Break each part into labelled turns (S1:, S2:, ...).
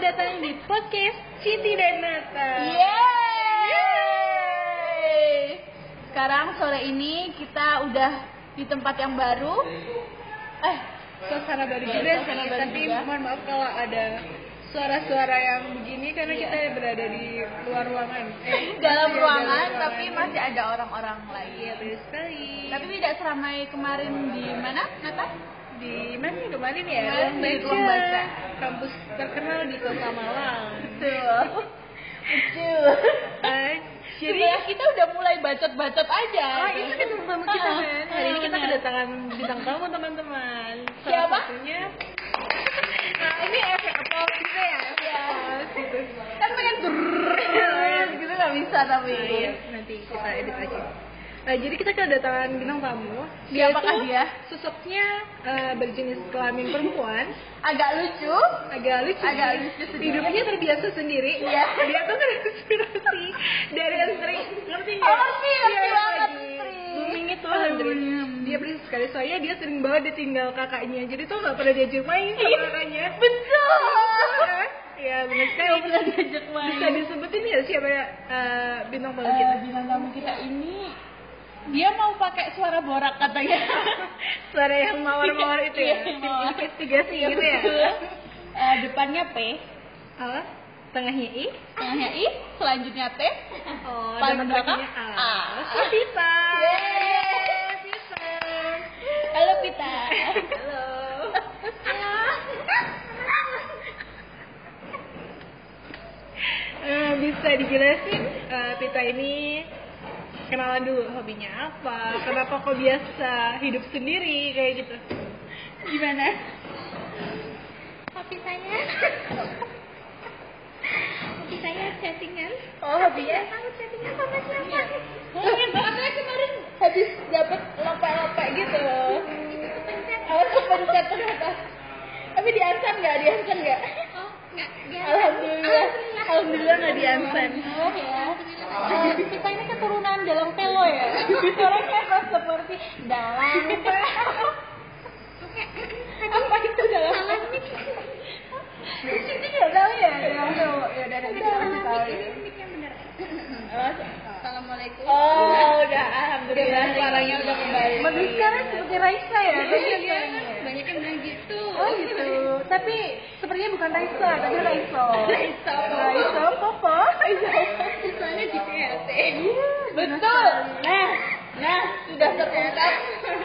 S1: datang di podcast Siti dan Nata.
S2: Iya. Yeay! Sekarang sore ini kita udah di tempat yang baru. Eh,
S1: Suasana baru
S2: Iya,
S1: juga
S2: suasana
S1: sih,
S2: baru
S1: tapi
S2: juga.
S1: mohon maaf kalau ada suara-suara yang begini karena kita berada di luar ruangan. Eh,
S2: Iya. dalam
S1: iya,
S2: ruangan
S1: dalam
S2: tapi masih ada orang-orang lain.
S1: Iya benar sekali.
S2: Tapi tidak seramai kemarin di mana, Nata?
S1: di mana ya, kemarin ya?
S2: Kemarin di ruang baca.
S1: Kampus terkenal di Kota Malang.
S2: Betul. Betul.
S1: Eh,
S2: Jadi kita udah mulai bacot-bacot aja.
S1: Oh, itu kan tamu kita
S2: Ah,
S1: kan. Hari ini kita
S2: benar.
S1: kedatangan bintang tamu teman-teman. Salah
S2: Siapa?
S1: Satunya. Nah, ini efek applause kita ya. efek
S2: Iya.
S1: applause gitu.
S2: Kan pengen brrrr, gitu nggak bisa tapi.
S1: Nah, iya, nanti kita edit aja. Nah, jadi kita kedatangan bintang tamu.
S2: Siapakah
S1: tuh
S2: dia?
S1: Sosoknya eh, berjenis kelamin perempuan,
S2: Agak lucu.
S1: agak lucu.
S2: Agak lucu sedikit.
S1: Hidupnya terbiasa sendiri.
S2: Iya.
S1: Dia tuh terinspirasi dari Andri. Ngerti nggak?
S2: Oh, ngerti, ngerti
S1: Iya,
S2: banget,
S1: lagi
S2: Andri.
S1: Booming itu Andri.
S2: Hmm.
S1: Dia berisik sekali soalnya dia sering banget ditinggal kakaknya. Jadi tuh nggak pernah diajak main sama kakaknya.
S2: Iya, Betul.
S1: Iya, benar sekali.
S2: Nggak pernah diajak main.
S1: Bisa disebutin ya siapa eh, bintang tamu
S2: Eh,
S1: kita?
S2: bintang tamu kita ini dia mau pakai suara borak katanya.
S1: Suara yang mawar-mawar itu ya.
S2: Iya, mawar.
S1: Investigasi
S2: Iya,
S1: gitu ya.
S2: betul. Eh, depannya P,
S1: Apa? Tengahnya I.
S2: tengahnya I, selanjutnya T.
S1: Oh,
S2: Paling
S1: dan
S2: belakang
S1: belakangnya A.
S2: A.
S1: Oh, Pita.
S2: Yeay,
S1: Pita.
S2: Halo Pita.
S1: Halo. Eh, bisa dijelasin eh, Pita ini kenalan dulu hobinya apa? Kenapa kok biasa hidup sendiri kayak gitu?
S2: Gimana?
S3: Hobi saya Hobi saya chattingan
S2: Oh, hobinya?
S3: Tahu chattingan sama siapa?
S2: Mungkin makanya kemarin habis dapat lompat-lompat gitu loh.
S3: Itu kepencet
S2: Awas kepencet ternyata. Tapi diansan nggak? Diansan nggak?
S3: Oh, enggak dia
S2: Alhamdulillah.
S1: Alhamdulillah nggak diansen.
S2: Oh ya. Eh, kita ini keturunan dalam telo ya. Orangnya kok seperti dalam telo. Apa itu dalam
S3: Salam
S2: telo?
S3: mic
S2: Siti nggak tahu ya dalam telo. Ya dari
S3: Udah,
S2: kita kasih tahu
S3: salam mic
S2: ya.
S3: Ini mic yang bener
S2: Assalamualaikum. Oh udah alhamdulillah suaranya udah kembali.
S1: Madu sekarang seperti Raisa ya,
S2: Iya,
S1: kelihatannya.
S3: Banyak yang bilang gitu
S1: Oh gitu. Tapi sepertinya bukan Raisa, tapi
S2: Iya.
S1: Raiso.
S2: Raisa.
S1: Raiso Popo. Iya, Raiso.
S2: Iya,
S3: Soalnya di PLT
S2: Betul. Nah, nah sudah terungkap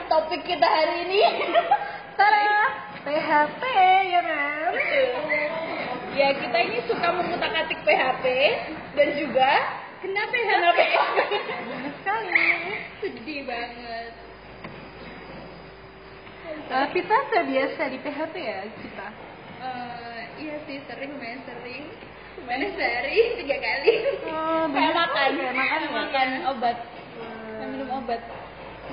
S2: topik kita hari ini.
S1: Tara. PHP ya kan?
S2: Ya kita ini suka mengutak-atik PHP dan juga
S3: Kenapa ya?
S2: kenapa
S1: Benar sekali.
S3: Sedih banget
S1: Eh, kita terbiasa di PHP ya kita.
S3: Eh, Iya sih, sering main sering Mana sehari? Tiga kali
S1: Oh,
S2: kayak makan,
S1: ya, makan
S2: makan obat,
S1: Hmm.
S2: minum obat.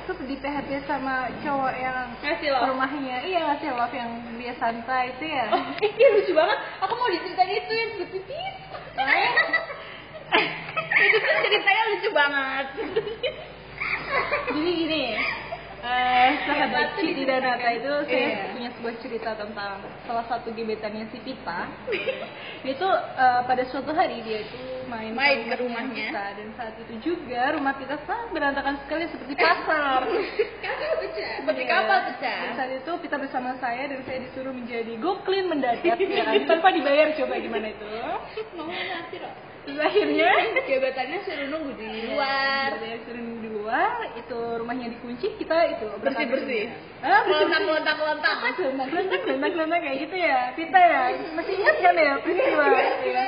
S1: Terus Eh, di PHP sama cowok yang
S2: Ngasih love.
S1: rumahnya iya ngasih love yang dia santai itu ya.
S2: Oh, eh, iya lucu banget. Aku mau diceritain itu yang gue titis. Eh? itu tuh ceritanya lucu banget.
S1: Jadi gini, eh
S2: Iya,
S1: sahabat
S2: Batu
S1: Siti dan Nata itu saya
S2: Iya.
S1: punya sebuah cerita tentang salah satu gebetannya si Pita. dia tuh eh, pada suatu hari dia itu main,
S2: Main ke rumahnya.
S1: Pita dan saat itu juga rumah Pita sangat berantakan sekali seperti pasar.
S3: Kakak pecah
S2: Seperti
S1: Iya.
S2: kapal pecah.
S1: Dan saat itu Pita bersama saya dan saya disuruh menjadi go clean mendadak ya kan? tanpa dibayar coba gimana itu.
S3: Mau ngasih loh
S1: Terus akhirnya
S2: Jabatannya suruh nunggu di luar.
S1: Dari sering di luar, itu rumahnya dikunci, kita itu berangkat
S2: Bersih-bersih. Oh,
S1: dulu. Ah,
S2: Lontak
S1: bersih-bersih.
S2: lontak lontak.
S1: Apa tuh? Gelontang-gelontang kayak gitu ya. Pita ya. Masih ingat kan ya peristiwa? Iya.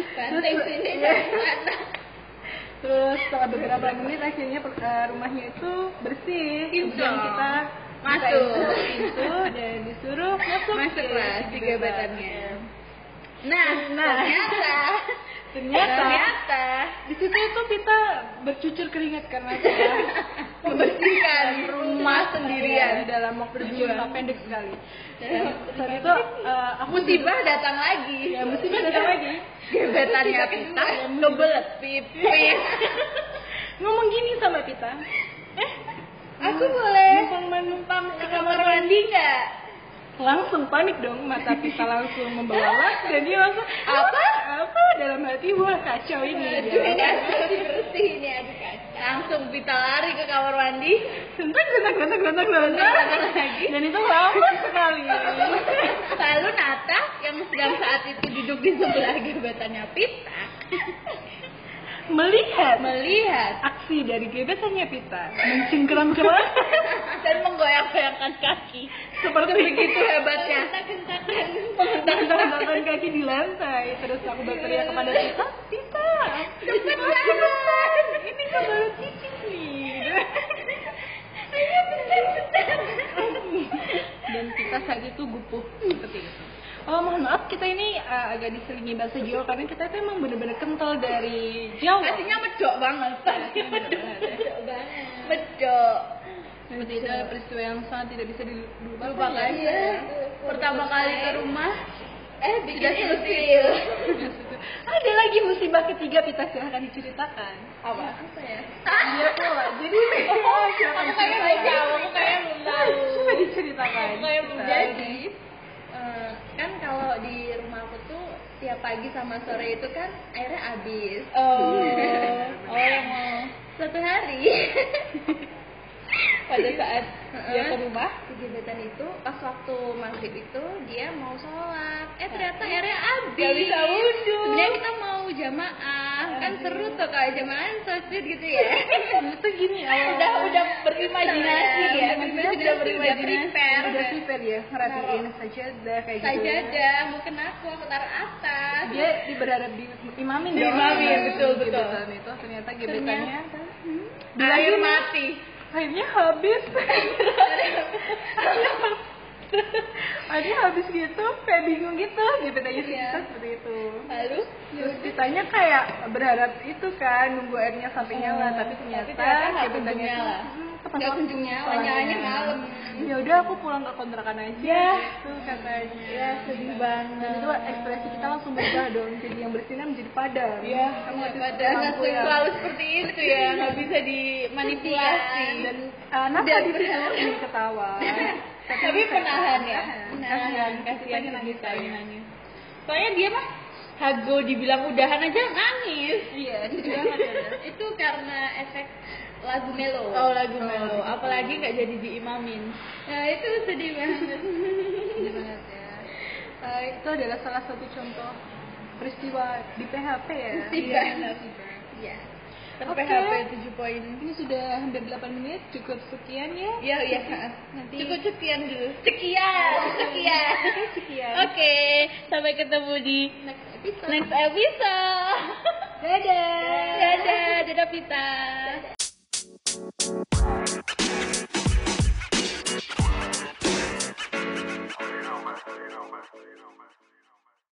S3: Banteng sini
S1: Iya.
S3: dan sana
S1: Terus setelah beberapa menit akhirnya per- eh, rumahnya itu bersih. Kemudian
S2: Insya.
S1: kita
S2: Masuk.
S1: buka pintu dan disuruh masuk.
S2: Masuklah
S1: ke
S2: si gebetannya.
S1: Nah, nah.
S2: Ternyata.
S1: Ternyata.
S2: Ternyata.
S1: Di situ itu kita bercucur keringat kan, ya. karena kita
S2: Membersihkan rumah
S1: sendirian Iya, di
S2: sendirian.
S1: dalam waktu
S2: Berdua.
S1: cinta pendek sekali. Iya. Dan
S2: Dan
S1: saat itu eh, aku
S2: Musibah datang lagi.
S1: ya musibah datang lagi.
S2: Gebetannya kita kebelet pipis.
S1: Ngomong gini sama Pita.
S2: Aku boleh
S1: Numpang menumpang ke
S2: ke
S1: kamar
S2: kamar mandi nggak?
S1: langsung panik dong mata Pita langsung membelalak dan dia langsung apa apa dalam hati wah kacau ini Gitu.
S2: Aduh, kacau Iya, bersih ini aduh kacau. Langsung Pita lari ke kamar mandi.
S1: sentak sentak sentak sentak sentak
S2: Bentar lagi.
S1: dan itu lama sekali
S2: Lalu Nata yang sedang saat itu duduk di sebelah gebetannya Pita
S1: melihat
S2: melihat
S1: aksi dari gebetannya Pita mencengkeram-keram
S2: dan menggoyang-goyangkan kaki.
S1: seperti
S2: Begitu hebatnya.
S1: Tentang kaki di lantai terus aku berteriak kepada Tita Iya. Tita
S2: Cepetan. kan
S1: cepetan ini kebaya titik nih
S2: Ayo bentar-bentar.
S1: dan kita saat itu gupuh seperti itu Oh mohon maaf kita ini eh, agak diselingi bahasa Jawa karena kita tuh emang bener-bener kental dari Jawa
S2: Pastinya medok banget. Pastinya medok. Medok.
S1: seperti itu ada peristiwa yang sangat tidak bisa dilupakan
S2: Lupakan.
S1: ya.
S2: Iya, Pertama kali ke rumah
S4: Eh,
S2: sudah ilfil.
S1: ada lagi musibah ketiga kita silahkan diceritakan
S2: Apa? Apa ya?
S1: Iya pula. Jadi oh, silakan
S4: Aku kayaknya belum
S1: diceritakan.
S4: tahu, aku kayaknya belum tahu.
S1: Coba diceritakan.
S4: Aku kayaknya belum
S1: Kita.
S2: jadi eh, kan kalau di rumah aku tuh tiap pagi sama sore itu kan airnya habis
S4: Oh, oh yang mau
S2: suatu hari
S4: pada saat dia ke rumah.
S2: di gebetan itu pas waktu maghrib itu dia mau sholat eh ternyata airnya habis
S4: Nah, Gak bisa wudhu. Nah,
S2: sebenarnya kita mau jamaah kan seru tuh kalau jamaahan sosmed gitu ya
S1: Itu gini oh. awal.
S4: Kan Udah udah berimajinasi
S2: Iya,
S4: ya,
S2: berimajinasi,
S4: udah berimajinasi. gitu.
S2: berimajinasi. prepare.
S1: Udah prepare ya, ngerhatiin
S4: Nah.
S1: sajadah kayak gitu.
S2: sajadah mungkin aku aku taruh atas
S1: Dia di- berharap di imamin dong.
S4: Diimamin, betul, betul.
S1: Di gebetan itu ternyata gebetannya
S2: air mati
S1: akhirnya habis. Akhirnya habis gitu, kayak bingung gitu, gebetannya sih
S2: Iya.
S1: kita seperti itu.
S2: lalu
S1: Terus ditanya Ya, kayak berharap itu kan nunggu airnya sampai
S2: Hmm,
S1: nyala, tapi ternyata
S4: ternyata nggak
S1: gebetannya
S4: kunjung
S1: itu,
S4: nyala.
S1: hmm,
S2: nggak
S1: kepentok
S2: kunjung nyala nyalanya malam
S1: ya udah aku pulang ke kontrakan aja
S4: Ya.
S1: gitu katanya
S4: Ya, sedih
S1: Dan itu
S4: banget.
S1: ekspresi kita langsung berubah dong jadi yang bersinar menjadi padam
S4: Ya,
S1: Kamu
S2: Nggak
S1: itu
S2: pada
S1: mampu
S2: nggak
S1: ya.
S2: selalu seperti itu ya nggak bisa dimanipulasi
S1: dan uh, Nata
S2: Dan
S1: di situ lagi ketawa
S2: tapi penahan ya
S1: Penahan.
S2: kasihan
S1: Kita nangis,
S2: kita
S1: ya.
S2: nangis soalnya dia mah hago dibilang udahan aja nangis
S1: iya
S2: itu karena efek lagu melo
S4: Oh, lagu
S1: Oh,
S4: melo.
S1: gitu.
S4: Apalagi nggak jadi diimamin.
S2: nah itu sedih banget
S1: banget ya Eh, itu adalah salah satu contoh peristiwa di PHP ya
S2: sedih banget ya
S1: Oke.
S2: PHP 7 poin
S1: ini sudah hampir 8 menit cukup sekian ya
S2: ya ya
S1: Nanti-
S2: cukup sekian dulu sekian sekian
S1: sekian
S2: oke sampai ketemu di
S1: next episode
S2: next episode
S1: dadah
S2: dadah dadah Pita